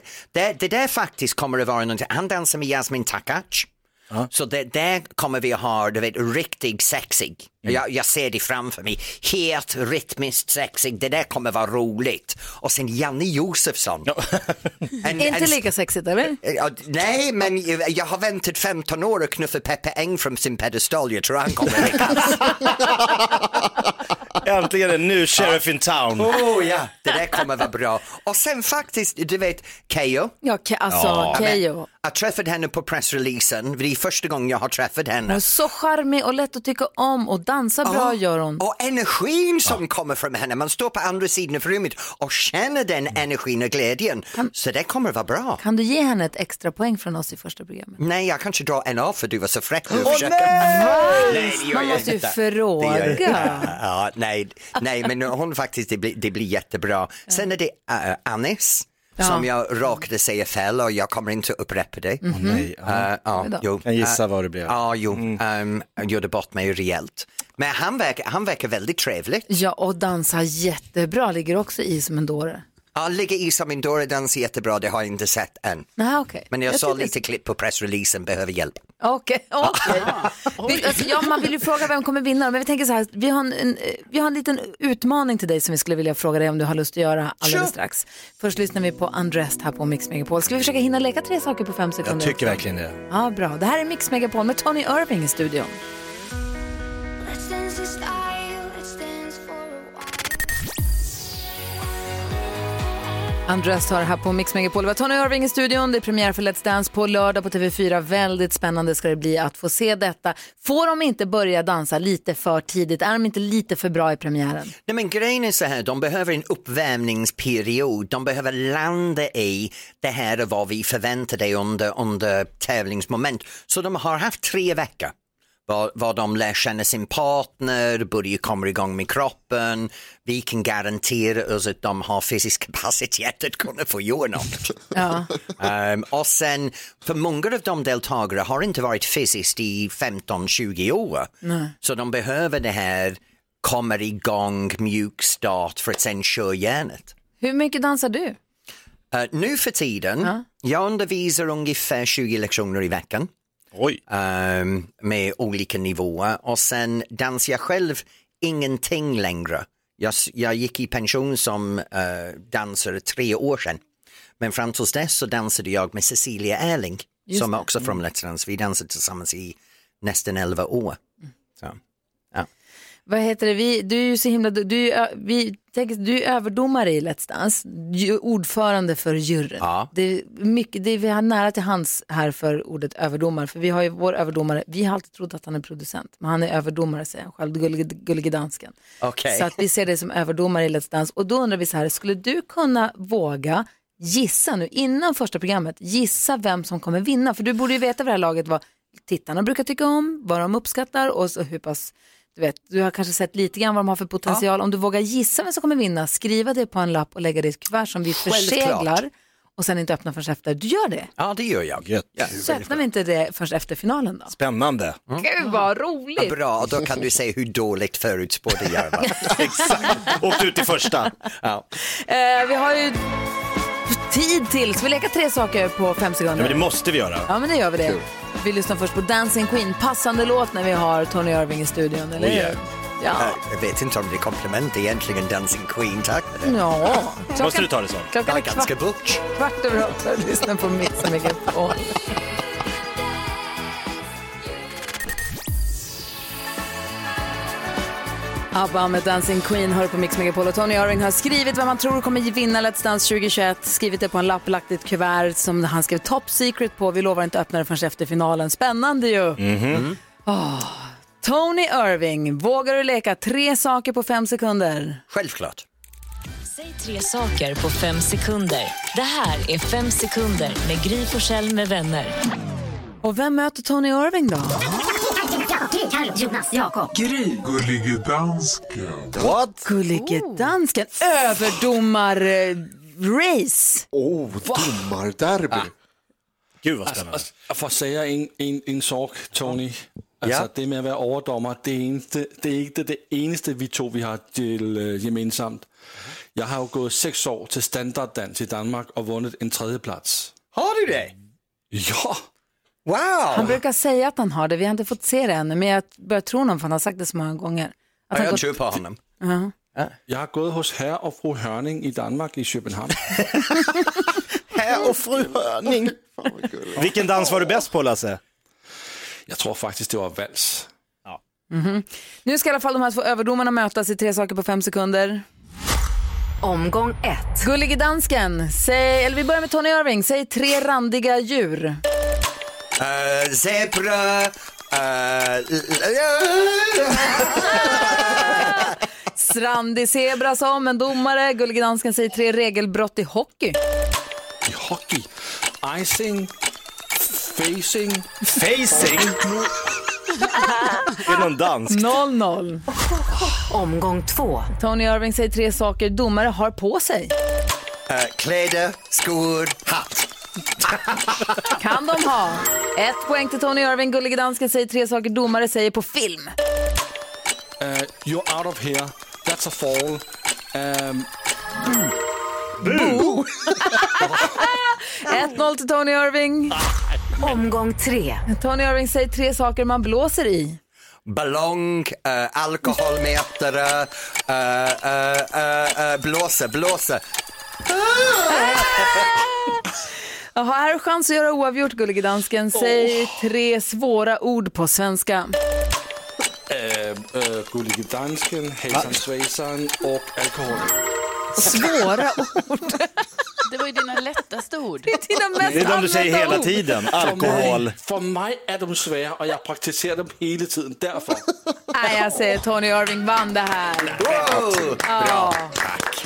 S8: där, det, det där faktiskt kommer att vara någonting. Han dansar med Jasmin Takac. Så det där kommer vi att ha, du vet, riktigt sexig. Jag, jag ser det framför mig. Helt rytmiskt sexig. Det där kommer vara roligt. Och sen Janne Josefsson. En-
S1: inte
S8: en-
S1: lika sexigt
S8: (laughs)
S1: eller?
S8: Ja, nej, men jag- jag har väntat 15 år att knuffa Peppe Eng från sin pedestal. Jag tror han kommer (laughs) att
S3: Äntligen en ny sheriff in town.
S8: Oh ja, det där kommer vara bra. Och sen faktiskt, du vet, Keyyo.
S1: Ja, Ke- alltså
S8: Ja, men-
S1: Keyyo.
S8: Jag träffade henne på pressreleasen, det är första gången jag har träffat
S1: Hon är
S8: henne.
S1: så charmig och lätt att tycka om och dansa bra
S8: Ja,
S1: gör hon.
S8: Och energin som kommer från henne, man står på andra sidan av rummet och känner den
S10: Mm.
S8: energin och glädjen. Så det kommer vara bra.
S1: Kan du ge henne ett extra poäng från oss i första programmet?
S8: Ah. Nej, jag kanske drar en av för du var så fräck nu.
S1: Åh,
S8: försöker-
S1: nej!
S8: Nej, det gör
S1: Man
S8: jag
S1: måste ju
S8: inte.
S1: fråga.
S8: Det gör jag inte. Ja, nej, nej, men hon faktiskt, det blir, det blir jättebra. Sen är det äh, Anis.
S1: Ja.
S8: Som jag råkade säga fel och jag kommer inte upprepa det.
S3: Nej, ja.
S8: Eh, ja,
S1: då.
S8: jo.
S3: Kan gissa
S8: Eh,
S3: vad det blev.
S8: Ja, jo. Ehm, jag gjorde bort mig rejält. Men han verkar, han verkar väldigt trevlig.
S1: Ja, och dansa jättebra ligger också i som en dåre.
S8: Han ligger i som en dåre, dansar jättebra, det har jag inte sett än.
S1: Nej, okej.
S8: Men jag, såg
S1: tyckte-
S8: lite klipp på pressreleasen, behöver hjälp.
S1: Okej, okej. Vi- alltså, ja, man vill ju fråga vem kommer vinna, men vi tänker så här, vi har en, en, eh, vi har en liten utmaning till dig som vi skulle vilja fråga dig om du har lust att göra alldeles
S8: Sure.
S1: strax. Först lyssnar vi på Undressed här på Mix Megapol. Ska vi försöka hinna leka tre saker på fem
S3: Jag
S1: sekunder?
S3: tycker verkligen det.
S1: Ja, bra. Det här är Mix Megapol med Tony Irving i studion. Andröst har det här på Mix Megapol. Det var Tony Irving i studion. Det är premiär för Let's Dance på lördag på TV4. Väldigt spännande ska det bli att få se detta. Får de inte börja dansa lite för tidigt? Är de inte lite för bra i premiären?
S8: Nej men grejen är så här, de behöver en uppvärmningsperiod. De behöver landa i det här är vad vi förväntar dig under, under tävlingsmoment. Så de har haft tre veckor vad, vad de lär känna sin partner, börjar komma igång med kroppen. Vi kan garantera oss att de har fysisk kapacitet att kunna få göra
S1: (laughs)
S8: något.
S1: Ja.
S8: Ehm, och sen, för många av de deltagare har inte varit fysiskt i 15-20 år. Så de behöver det här, kommer igång, mjuk start för att sen köra järnet.
S1: Hur mycket dansar du?
S8: Eh, nu för tiden, jag undervisar ungefär 20 lektioner i veckan
S3: Oj.
S8: ehm, med olika nivåer och sen dansar jag själv ingenting längre. Jag, s- jag gick i pension som eh, dansare tre år sedan. Men fram tills dess så dansade jag med Cecilia Erling som är också från Let's Dance. Vi dansade tillsammans i nästan elva år. Så.
S1: Vad heter det? Vi, du är ju så himla... Du, du, är ju ö- vi, tänk, du är överdomare i Let's Dance, ju- ordförande för juryn.
S8: Ja.
S1: Det är mycket, det är, vi har nära till hands här för ordet överdomare, för vi har ju vår överdomare, vi har alltid trott att han är producent, men han är överdomare säger han själv, gullige, gullige dansken.
S8: Okej.
S1: Mm. Så att vi ser dig som överdomare i Let's Dance och då undrar vi så här, skulle du kunna våga gissa nu innan första programmet, gissa vem som kommer vinna? För du borde ju veta vid det här laget vad tittarna brukar tycka om, vad de uppskattar och så hur pass du vet, du har kanske sett lite grann vad de har för potential. Om du vågar gissa vem som kommer vinna, skriva det på en lapp och lägga det i ett kuvert som vi förseglar och sen inte öppna förrän efter. Du gör det.
S8: Ja, det gör jag.
S3: Gött.
S8: Ja.
S1: Så öppnar vi inte det förrän efter finalen då.
S3: Spännande.
S1: Gud vad
S8: Ja,
S1: roligt!
S8: bra, och då kan du se hur dåligt förutspådde jag var.
S3: Exakt. Åkte ut i första.
S8: Ja.
S1: Eh, vi har ju tid till, ska vi leka tre saker på fem
S3: Ja, men det
S1: sekunder?
S3: måste vi göra.
S1: Ja men det gör vi det. Vi lyssnar först på Dancing Queen, passande låt när vi har Tony Irving i studion, eller
S3: Oh,
S1: hur?
S3: yeah.
S1: Ja,
S8: Jag vet inte om det är kompliment egentligen, Dancing Queen, tack.
S1: ja. Klockan,
S3: Måste du ta det så?
S1: Klockan
S8: Jag
S1: är
S8: är ganska
S1: kvart,
S8: butch.
S1: kvart över åtta och lyssnar på Mix Megapol. ABBA med Dancing Queen hör på Mix Megapol och Tony Irving har skrivit vem han tror kommer vinna Let's Dance 2021. Skrivit det på en lapp, lagt i ett kuvert som han skrev Top Secret på. Vi lovar inte öppna det förrän efter finalen. Spännande ju! Mhm. Åh. Tony Irving, vågar du leka tre saker på fem sekunder?
S8: Självklart.
S9: Säg tre saker på fem sekunder. Det här är Fem sekunder med Gry Forssell med vänner.
S1: Och vem möter Tony Irving då?
S3: What?
S1: Gullige
S8: Oh.
S1: dansken, överdomar-race.
S2: Oh, domarderby.
S3: Gud vad spännande.
S6: For at sige en, en, en sorg, Tony. Alltså,
S8: Altså, Ja.
S6: det med at være overdommer, det er, eneste, det er ikke det, det eneste, vi to vi har til uh, gemensamt. Jeg har jo gået seks år til standarddans i Danmark og vundet en tredjeplads.
S8: Har du det?
S6: Ja,
S8: Wow!
S1: Han brukar säga att han har det, vi har inte fått se det ännu, men jag börjar tro honom för han har sagt det så många gånger. Att
S8: Ja,
S1: han
S8: jag
S1: gått-
S8: tror på honom.
S6: jeg har gået hos herre og fru Hørning i Danmark i København.
S8: Herr och fru Hörning.
S3: Vilken dans var du bäst på Lasse?
S6: Jeg tror faktisk, det var vals.
S1: Nu ska i alla fall de här två överdomarna mötas i tre saker på fem sekunder.
S9: Omgång ett.
S1: Gullige dansken, säg, eller vi börjar med Tony Irving, säg tre randiga djur.
S8: Uh, zebra. eh, l- ja.
S1: Strandig zebra som en domare. Gullige dansken, säg tre regelbrott i hockey.
S6: I hockey. Icing. Facing.
S3: Facing? Det är någon dans.
S1: 0-0.
S9: Omgång två.
S1: Tony Irving, säg tre saker domare har på sig.
S8: Eh, kläder, skor, hatt.
S1: Kan de ha? Ett poäng till Tony Irving. Gullige dansken, säg tre saker domare säger på film.
S6: Uh, you're out of here. That's a fall. Um,
S1: 1-0 till Tony Irving.
S9: Omgång tre.
S1: Tony Irving säger tre saker man blåser i.
S8: Ballong, eh, alkoholmätare, eh, eh, eh, eh, blåsa, blåsa.
S1: Jaha, här har du chans att göra oavgjort, gullige dansken. Säg tre svåra ord på svenska.
S6: uh, uh, Gullige Dansken, Hasan Svejsan och alkohol.
S1: Svåra ord.
S4: ju dina lättaste ord. Det
S1: är dina
S11: Det är de du säger hela tiden. Alkohol.
S12: mig- For mig er de svære, og jeg praktiserer dem hele tiden. Derfor.
S1: Nej, jag säger Tony Irving vann det här. Ja.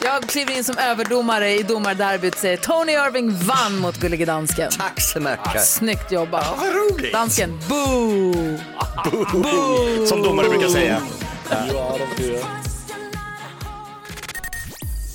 S1: Jag kliver in som överdomare i domarderbyt säger Tony Irving vann mot Gullige Dansken.
S8: Tack så mycket.
S1: Snyggt jobbat.
S8: Ja, vad roligt.
S1: Dansken, boo!
S3: Boo! Som domare brukar säga.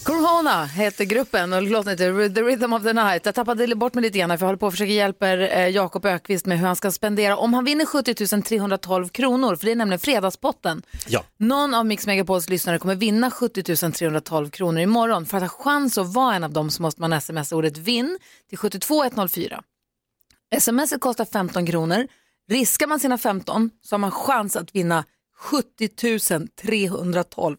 S1: Corona heter gruppen och låten heter The Rhythm of the Night. Jag tappade bort mig lite grann här, för jag håller på och försöker hjälpa eh, Jakob Ökvist med hur han ska spendera om han vinner 70 312 kronor, för det är nämligen fredagspotten.
S3: Ja.
S1: Någon av Mix Megapols lyssnare kommer vinna 70 312 kronor imorgon. För att ha chans att vara en av dem så måste man smsa ordet vinn till 72104. Smset kostar 15 kronor. Riskar man sina 15 så har man chans att vinna 70 312.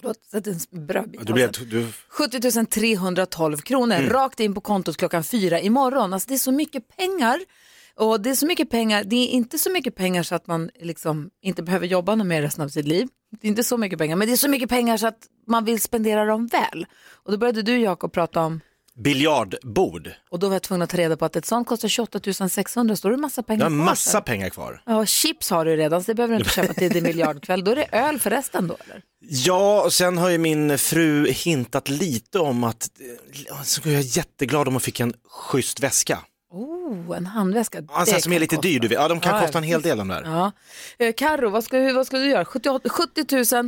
S1: Förlåt, sätt en brödbit.
S3: Du blev, du,
S1: 70 312 Alltså, kronor
S3: Mm.
S1: rakt in på kontot klockan fyra imorgon. Alltså det är så mycket pengar. Och det är så mycket pengar, det är inte så mycket pengar så att man liksom inte behöver jobba något mer resten av sitt liv. Det är inte så mycket pengar, men det är så mycket pengar så att man vill spendera dem väl. Och då började du Jakob prata om,
S3: biljardbord.
S1: och då var jag tvungen att ta reda på att ett sånt kostar 28 600, så då är det massa
S3: Du
S1: pengar
S3: har
S1: kvar
S3: massa
S1: sen.
S3: pengar kvar.
S1: Ja, och chips har du redan, så det behöver du inte köpa till din miljardkväll. Då är det öl förresten då eller?
S3: Ja, och sen har ju min fru hintat lite om att eh, så jag är jätteglad om hon fick en schysst väska.
S1: Oh, en handväska.
S3: Alltså,
S1: det
S3: som är
S1: kan
S3: lite
S1: kosta.
S3: dyr, du vet. Ja, de kan
S1: Ja,
S3: kosta en hel del de där.
S1: Ja. Eh, Karo, vad ska, hur- vad ska du göra? 78, 70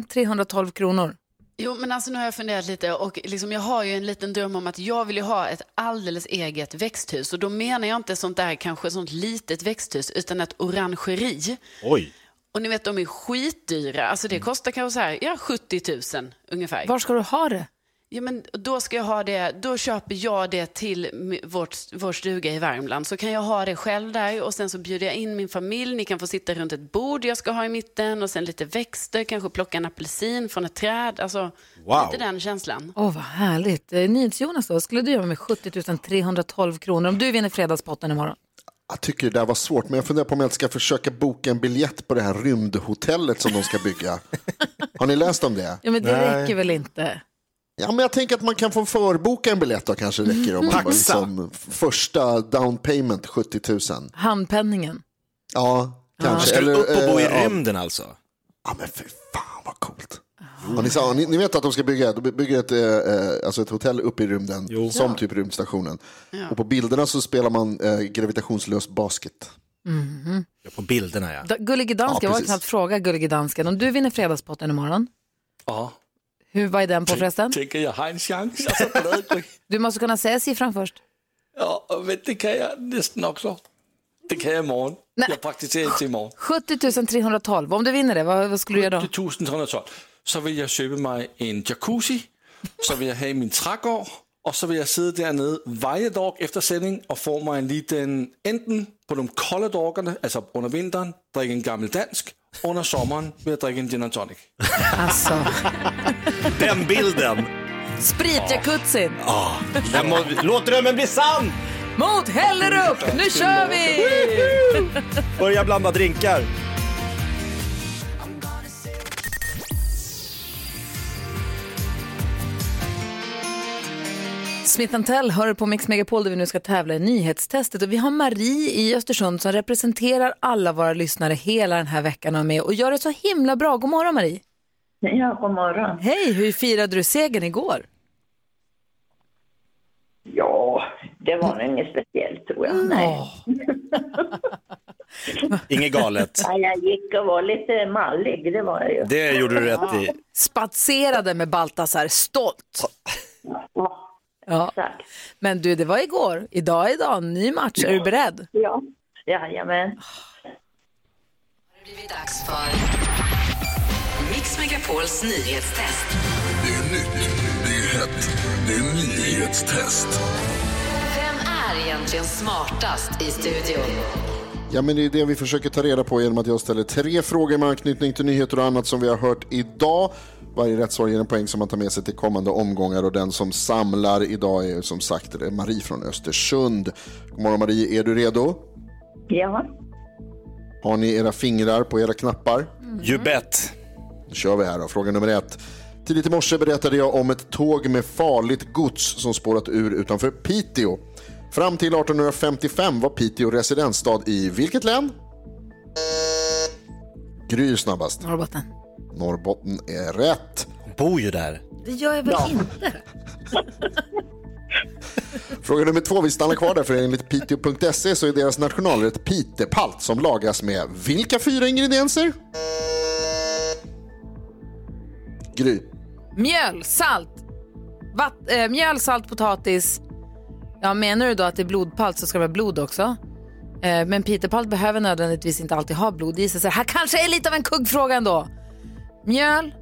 S1: 312 kronor.
S4: Jo, men alltså nu har jag funderat lite och liksom, jag har ju en liten dröm om att jag vill ju ha ett alldeles eget växthus. Och då menar jag inte sånt där kanske sånt litet växthus, utan ett orangeri.
S3: Oj.
S4: Och ni vet, de är skitdyra. Alltså det kostar kanske så här, ja, 70 000 ungefär.
S1: Var ska du ha det?
S4: Ja, men då ska jag ha det, då köper jag det till m- vårt, vår stuga i Värmland. Så kan jag ha det själv där och sen så bjuder jag in min familj. Ni kan få sitta runt ett bord jag ska ha i mitten och sen lite växter, kanske plocka en apelsin från ett träd. Alltså,
S1: Wow.
S4: lite den känslan.
S1: Åh, vad härligt. Eh, NyhetsJonas då, vad skulle du göra med 70 312 kronor om du vinner fredagspotten imorgon?
S2: Jag tycker det där var svårt, men jag funderar på om jag inte ska försöka boka en biljett på det här rymdhotellet som de ska bygga. Har ni läst om det?
S1: Ja, men det räcker väl inte?
S2: Ja, men jag tänker att man kan få förboka en biljett då kanske det räcker om man
S1: Taxa.
S2: bara
S3: Mm.
S2: liksom första down payment 70 000.
S1: Handpenningen.
S2: Ja, kanske.
S3: Ska du upp och bo i
S2: eh, ja.
S3: rymden alltså?
S2: Ja, men för fan vad coolt. Ja, ni, sa, ni, ni vet att de ska bygga de bygger ett, eh, eh, alltså ett hotell uppe i rymden som
S1: Ja.
S2: typ rymdstationen.
S1: Ja.
S2: Och på bilderna så spelar man eh, gravitationslös basket.
S1: Mhm.
S3: Ja, på bilderna ja.
S1: Da- Gullige dansken,
S2: Ja,
S1: jag har
S2: precis.
S1: knappt fråga Gullige dansken. Om du vinner fredagspotten imorgon,
S12: Ja.
S1: hur, vad är den på förresten?
S12: Tænker, jeg har en chance, og så glad jeg.
S1: Du måste kunna säga siffran först.
S12: Ja, og men det kan jeg næsten også. Det kan jeg i morgen.
S1: Nej.
S12: Jeg praktiserer indtil i morgen.
S1: 70 312, om du vinner det, vad, vad skulle du göra då?
S12: 1012. Så vil jeg købe mig en jacuzzi, så vil jeg have min trægård, og så vil jeg sidde dernede hver dag efter sending og få mig en liten, enten på de kolde dagerne, altså under vinteren, drikke en gammel dansk, under sommeren vil jeg drikke en gin and tonic.
S1: Alltså,
S3: Den bilden!
S1: spritjacuzzin!
S3: Ja, den må, låt drömmen bli sann!
S1: Mot Hellerup! Nu kör vi!
S3: Börja blanda drinkar.
S1: Smith Tell hör på Mix Megapol där vi nu ska tävla i nyhetstestet. Och vi har Marie i Östersund som representerar alla våra lyssnare hela den här veckan och är med och gör det så himla bra. God morgon Marie!
S13: Ja, god morgon.
S1: Hej, hur firade du segern igår?
S13: Ja, det var nog inget speciellt tror jag.
S1: Mm.
S13: Nej.
S3: Inget galet.
S13: Ja, jag gick och var lite mallig, det var jag ju.
S3: Det gjorde du rätt i.
S1: Spatserade med Baltasar, stolt! Ja. Men du, det var igår. Idag är idag, ny match. Är du beredd?
S13: Ja. Jajamän.
S14: Dags för Mix Megapols nyhetstest.
S15: Det är nytt, det är hett, det är nyhetstest.
S14: Vem är egentligen smartast i studion?
S2: Ja, men det är det vi försöker ta reda på genom att jag ställer tre frågor med anknytning till nyheter och annat som vi har hört idag. Varje rätt svar ger en poäng som man tar med sig till kommande omgångar och den som samlar idag är ju som sagt det är Marie från Östersund. God morgon Marie, är du redo?
S13: Ja.
S2: Har ni era fingrar på era knappar?
S3: You bet.
S2: Då kör vi här då. Fråga nummer ett. Tidigt i morse berättade jag om ett tåg med farligt gods som spårat ur utanför Piteå. Fram till 1855 var Piteå residensstad i vilket län? Gry är snabbast.
S1: Norrbotten.
S2: Norrbotten är rätt.
S3: Bor ju där.
S1: Det gör jag väl inte?
S2: Fråga nummer två, vi stannar kvar där för enligt piteå.se så är deras nationalrätt pitepalt som lagas med vilka fyra ingredienser? Gry.
S1: Mjöl, salt, vatt, eh, mjöl, salt, potatis. Ja, menar du då att det är blodpalt så ska det vara blod också? Eh, men pitepalt behöver nödvändigtvis inte alltid ha blod i sig. Så det här kanske är lite av en kuggfråga ändå. Mjöl,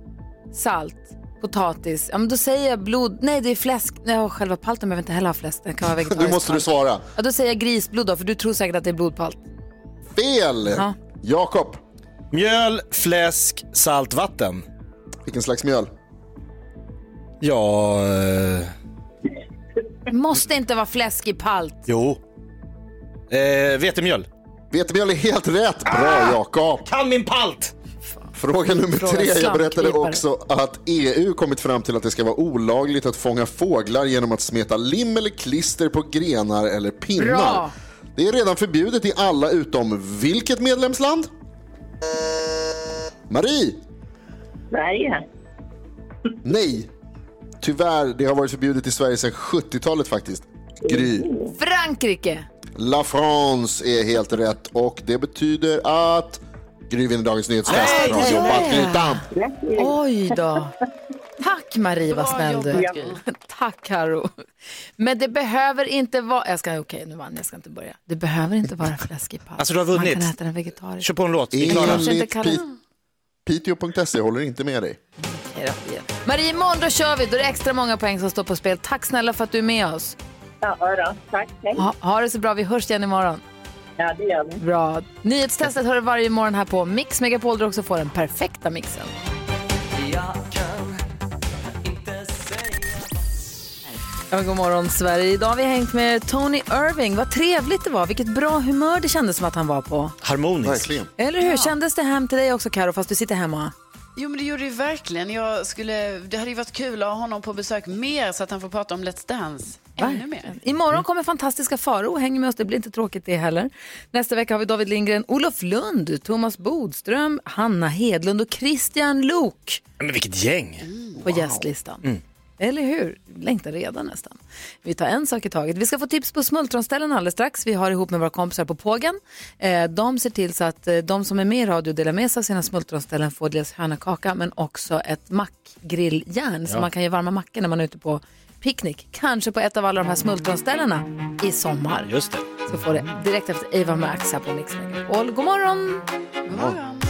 S1: salt, potatis. Ja, men då säger jag blod. Nej, det är fläsk. Nej, och själva palten behöver inte heller ha fläsk. Den kan vara
S2: Nu
S1: vegetarisk.
S2: måste du svara.
S1: Ja, då säger jag grisblod då, för du tror säkert att det är blodpalt.
S2: Fel!
S1: Ja.
S2: Jakob.
S3: Mjöl, fläsk, saltvatten.
S2: Vilken slags mjöl?
S3: Ja... Eh,
S1: Det måste inte vara fläsk i palt.
S3: jo. Eh, vetemjöl.
S2: Vetemjöl är helt rätt. Bra Jakob.
S3: Ah! Kan min palt!
S2: Fråga nummer
S3: Fråga
S2: tre. Jag berättade
S3: slamkrypare.
S2: också att EU kommit fram till att det ska vara olagligt att fånga fåglar genom att smeta lim eller klister på grenar eller pinnar.
S15: Bra.
S2: Det är redan förbjudet i alla utom vilket medlemsland? Marie!
S13: Sverige.
S2: Nej. Tyvärr, det har varit förbjudet i Sverige sedan 70-talet faktiskt. Gry.
S1: Frankrike.
S2: La France är helt rätt och det betyder att Gry vinner dagens nyhetstest.
S1: Nej,
S2: Bra
S1: det gör
S2: jobbat
S1: jag.
S2: Grytan!
S1: Oj då. Tack Marie, vad snäll du
S4: jobbat,
S1: är. Tack Karo. Men det behöver inte vara... Jag ska, okej, nu vann jag, jag ska inte börja. Det behöver inte vara fläsk i palt.
S3: Alltså du har
S1: Man
S3: vunnit.
S1: kan äta den vegetariskt.
S3: Kör på en låt, vi är klara.
S2: Enligt Pi- Piteå.se E håller inte med dig.
S1: Marie, imorgon då kör vi. Då är det extra många poäng som står på spel. Tack snälla för att du är med oss.
S13: Ja, då. Tack. Hej.
S1: Ha, ha det så bra. Vi hörs igen imorgon.
S13: Ja, det gör vi.
S1: Bra. Nyhetstestet hör du varje morgon här på Mix Megapol där du också får den perfekta mixen. Ja, men god morgon Sverige. Idag har vi hängt med Tony Irving. Vad trevligt det var. Vilket bra humör det kändes som att han var på.
S3: Harmoniskt.
S1: Eller hur? Kändes det hem till dig också Karo fast du sitter hemma?
S4: Jo men det gjorde det ju verkligen. Jag skulle, det hade ju varit kul att ha honom på besök mer så att han får prata om Let's Dance ännu mer.
S1: Imorgon kommer fantastiska Faro och hänger med oss. Det blir inte tråkigt det heller. Nästa vecka har vi David Lindgren, Olof Lund, Thomas Bodström, Hanna Hedlund och Christian Lok
S3: Men vilket gäng.
S1: på gästlistan.
S3: Mm.
S1: Eller hur? Längtar redan nästan. Vi tar en sak i taget. Vi ska få tips på smultronställen alldeles strax. Vi har ihop med våra kompisar på Pågen. Eh, de ser till så att eh, de som är med i radio delar med sig av sina smultronställen får dels hönakaka men också ett mackgrilljärn så
S16: Ja.
S1: man kan göra varma mackor när man är ute på picknick. Kanske på ett av alla de här smultronställena i sommar.
S3: Just det.
S1: Så får det direkt efter Ava Max här på Mix Megapol. God morgon! God morgon!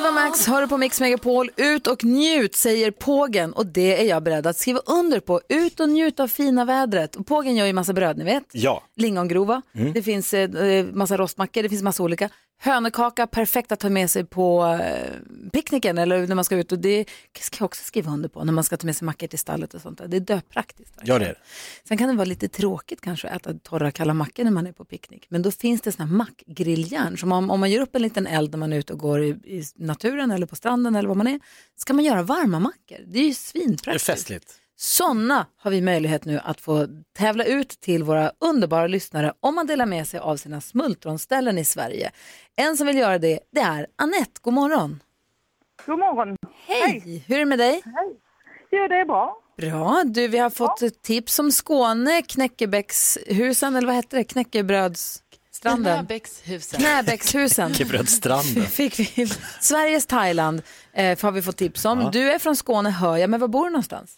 S1: Ava Max hör du på Mix Megapol. Ut och njut säger Pågen och det är jag beredd att skriva under på. Ut och njut av fina vädret. Och Pågen gör ju massa bröd ni vet.
S3: Ja.
S1: Lingongrova,
S3: Mm.
S1: det finns eh, massa rostmackor, det finns massa olika. Hönökaka, perfekt att ta med sig på eh, picknicken eller när man ska ut. Och det ska jag också skriva under på när man ska ta med sig mackor till stallet och sånt där. Det är döpraktiskt.
S3: Gör det.
S1: Sen kan det vara lite tråkigt kanske att äta torra kalla mackor när man är på picknick. Men då finns det såna här mackgrilljärn. Så om, om man gör upp en liten eld när man är ute och går i, i naturen eller på stranden eller var man är, ska man göra varma mackor. Det är ju
S3: Det är
S1: svinpraktiskt.
S3: festligt.
S1: Sådana har vi möjlighet nu att få tävla ut till våra underbara lyssnare om man delar med sig av sina smultronställen i Sverige. En som vill göra det, det är Annette. God morgon.
S17: God morgon.
S1: Hej. Hur är det med dig?
S17: Hej. Jo, det är bra.
S1: Bra. Du, vi har fått ett tips om Skåne, Knäckebäckshusen, eller vad heter det? Knäckebrödsstranden?
S4: Knäbäckshusen.
S1: Knäbäckshusen. (laughs)
S3: Knäckebrödsstranden.
S1: Fick vi. Sveriges Thailand eh, har vi fått tips om.
S17: Ja.
S1: Du är från Skåne, hör jag, men var bor du någonstans?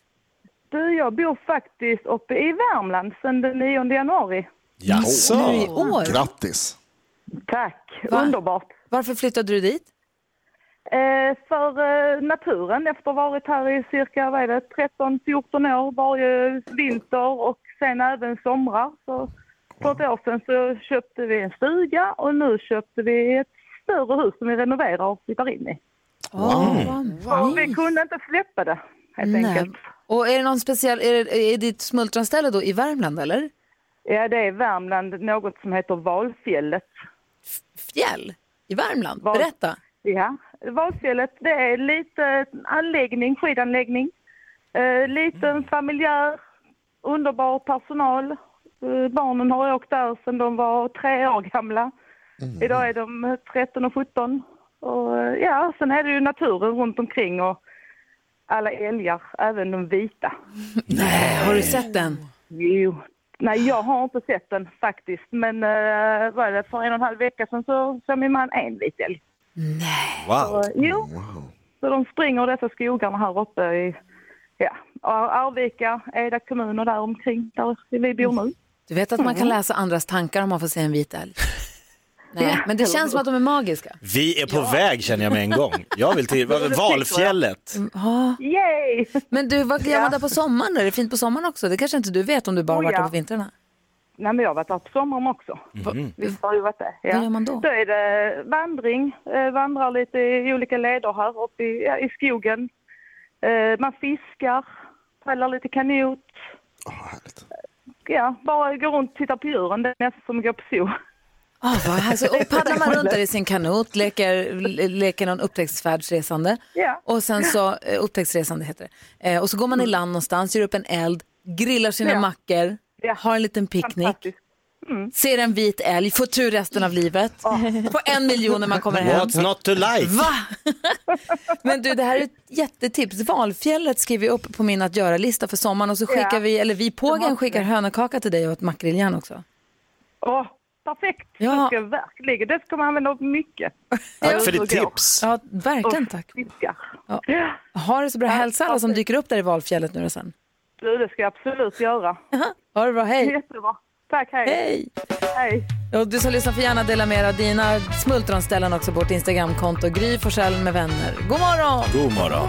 S17: Du, jag bor faktiskt uppe i Värmland sedan den 9 januari.
S1: Jaså. Nu i år?
S2: Grattis.
S17: Tack, underbart.
S1: Varför flyttade du dit?
S17: Eh, för eh, naturen, efter att ha varit här i cirka vad är det, 13-14 år varje vinter och sen även somrar. Så för ett år sedan så köpte vi en stuga och nu köpte vi ett större hus som vi renoverar och flyttar in i. Och vi kunde inte släppa det helt enkelt.
S1: Och är det någon speciell, är, det, är ditt smultronställe då i Värmland eller?
S17: Ja, det är i Värmland något som heter Valfjället.
S1: Fjäll? I Värmland? Berätta.
S17: Ja, Valfjället det är lite anläggning, skidanläggning, eh, liten familjär, underbar personal. Eh, barnen har åkt där sedan de var tre år gamla. Idag är de 13 och 17. Och, eh, ja, sen är det ju naturen runt omkring och alla älgar, även de vita.
S1: Nej, har du sett den?
S17: Jo. Nej, jag har inte sett den faktiskt. Men eh, vad är det, för en och en halv vecka sedan så såg min man en vit älg.
S18: Wow.
S17: Så, jo. Så de springer dessa skogarna här uppe i ja, Ar- Arvika, Eda kommun och där omkring där vi bor nu.
S1: Du vet att man kan läsa andras tankar om man får se en vit
S17: (laughs)
S1: älg? Nej, men det känns som att de är magiska.
S3: Vi är på väg känner jag med en gång. Jag vill till
S1: det tycker jag.
S3: Valfjället.
S17: Mm.
S1: Ja.
S17: Yay!
S1: Men du, vad gör man där på sommaren? Är det fint på sommaren också? Det kanske inte du vet om du bara
S17: Oh,
S1: varit där
S17: ja.
S1: på vintrarna?
S17: Nej, men jag har varit där på sommaren också. Mm. Visst har du varit det?
S1: Vad gör man då?
S17: Då är det vandring, eh, vandrar lite i olika leder här uppe i, ja, i skogen. Eh, man fiskar, paddlar lite kanot. Ja, bara går runt och tittar på djuren. Det är nästan som att gå på zoo.
S1: Ah, vad härligt. och paddlar
S17: (laughs)
S1: man runt där i sin kanot, leker, le- leker någon upptäcktsfärdsresande.
S17: Ja.
S1: Och sen så, eh, upptäcktsresande heter det. Eh, och så går man i land någonstans, gör upp en eld, grillar sina
S17: Mm. Ja.
S1: mackor, har en liten picknick. Ser en vit älg, får tur resten av livet. På en miljon när man kommer hem.
S3: What's not to like?
S1: Va? (laughs) Men du, det här är ett jättetips. Valfjället skriver vi upp på min att göra-lista för sommaren och så skickar
S17: Ja.
S1: vi, eller vi pågen skickar hönökaka till dig och ett makrillhjärn också.
S17: Åh, perfekt! Det ska jag verkligen. Det ska man använda upp mycket.
S1: Ja, och gå. Ja, verkligen tack. Ja. Ha det så bra. Hälsa alla som dyker upp där i valfjället nu då sen.
S17: Du, det ska jag absolut göra.
S1: Ha det bra, hej.
S17: Jättebra. Tack, hej.
S1: Hej.
S17: Hej.
S1: Och du som lyssnar får gärna dela med er av dina smultronställen också på vårt Instagramkonto. Gry Forssell med vänner. God morgon!
S3: God morgon.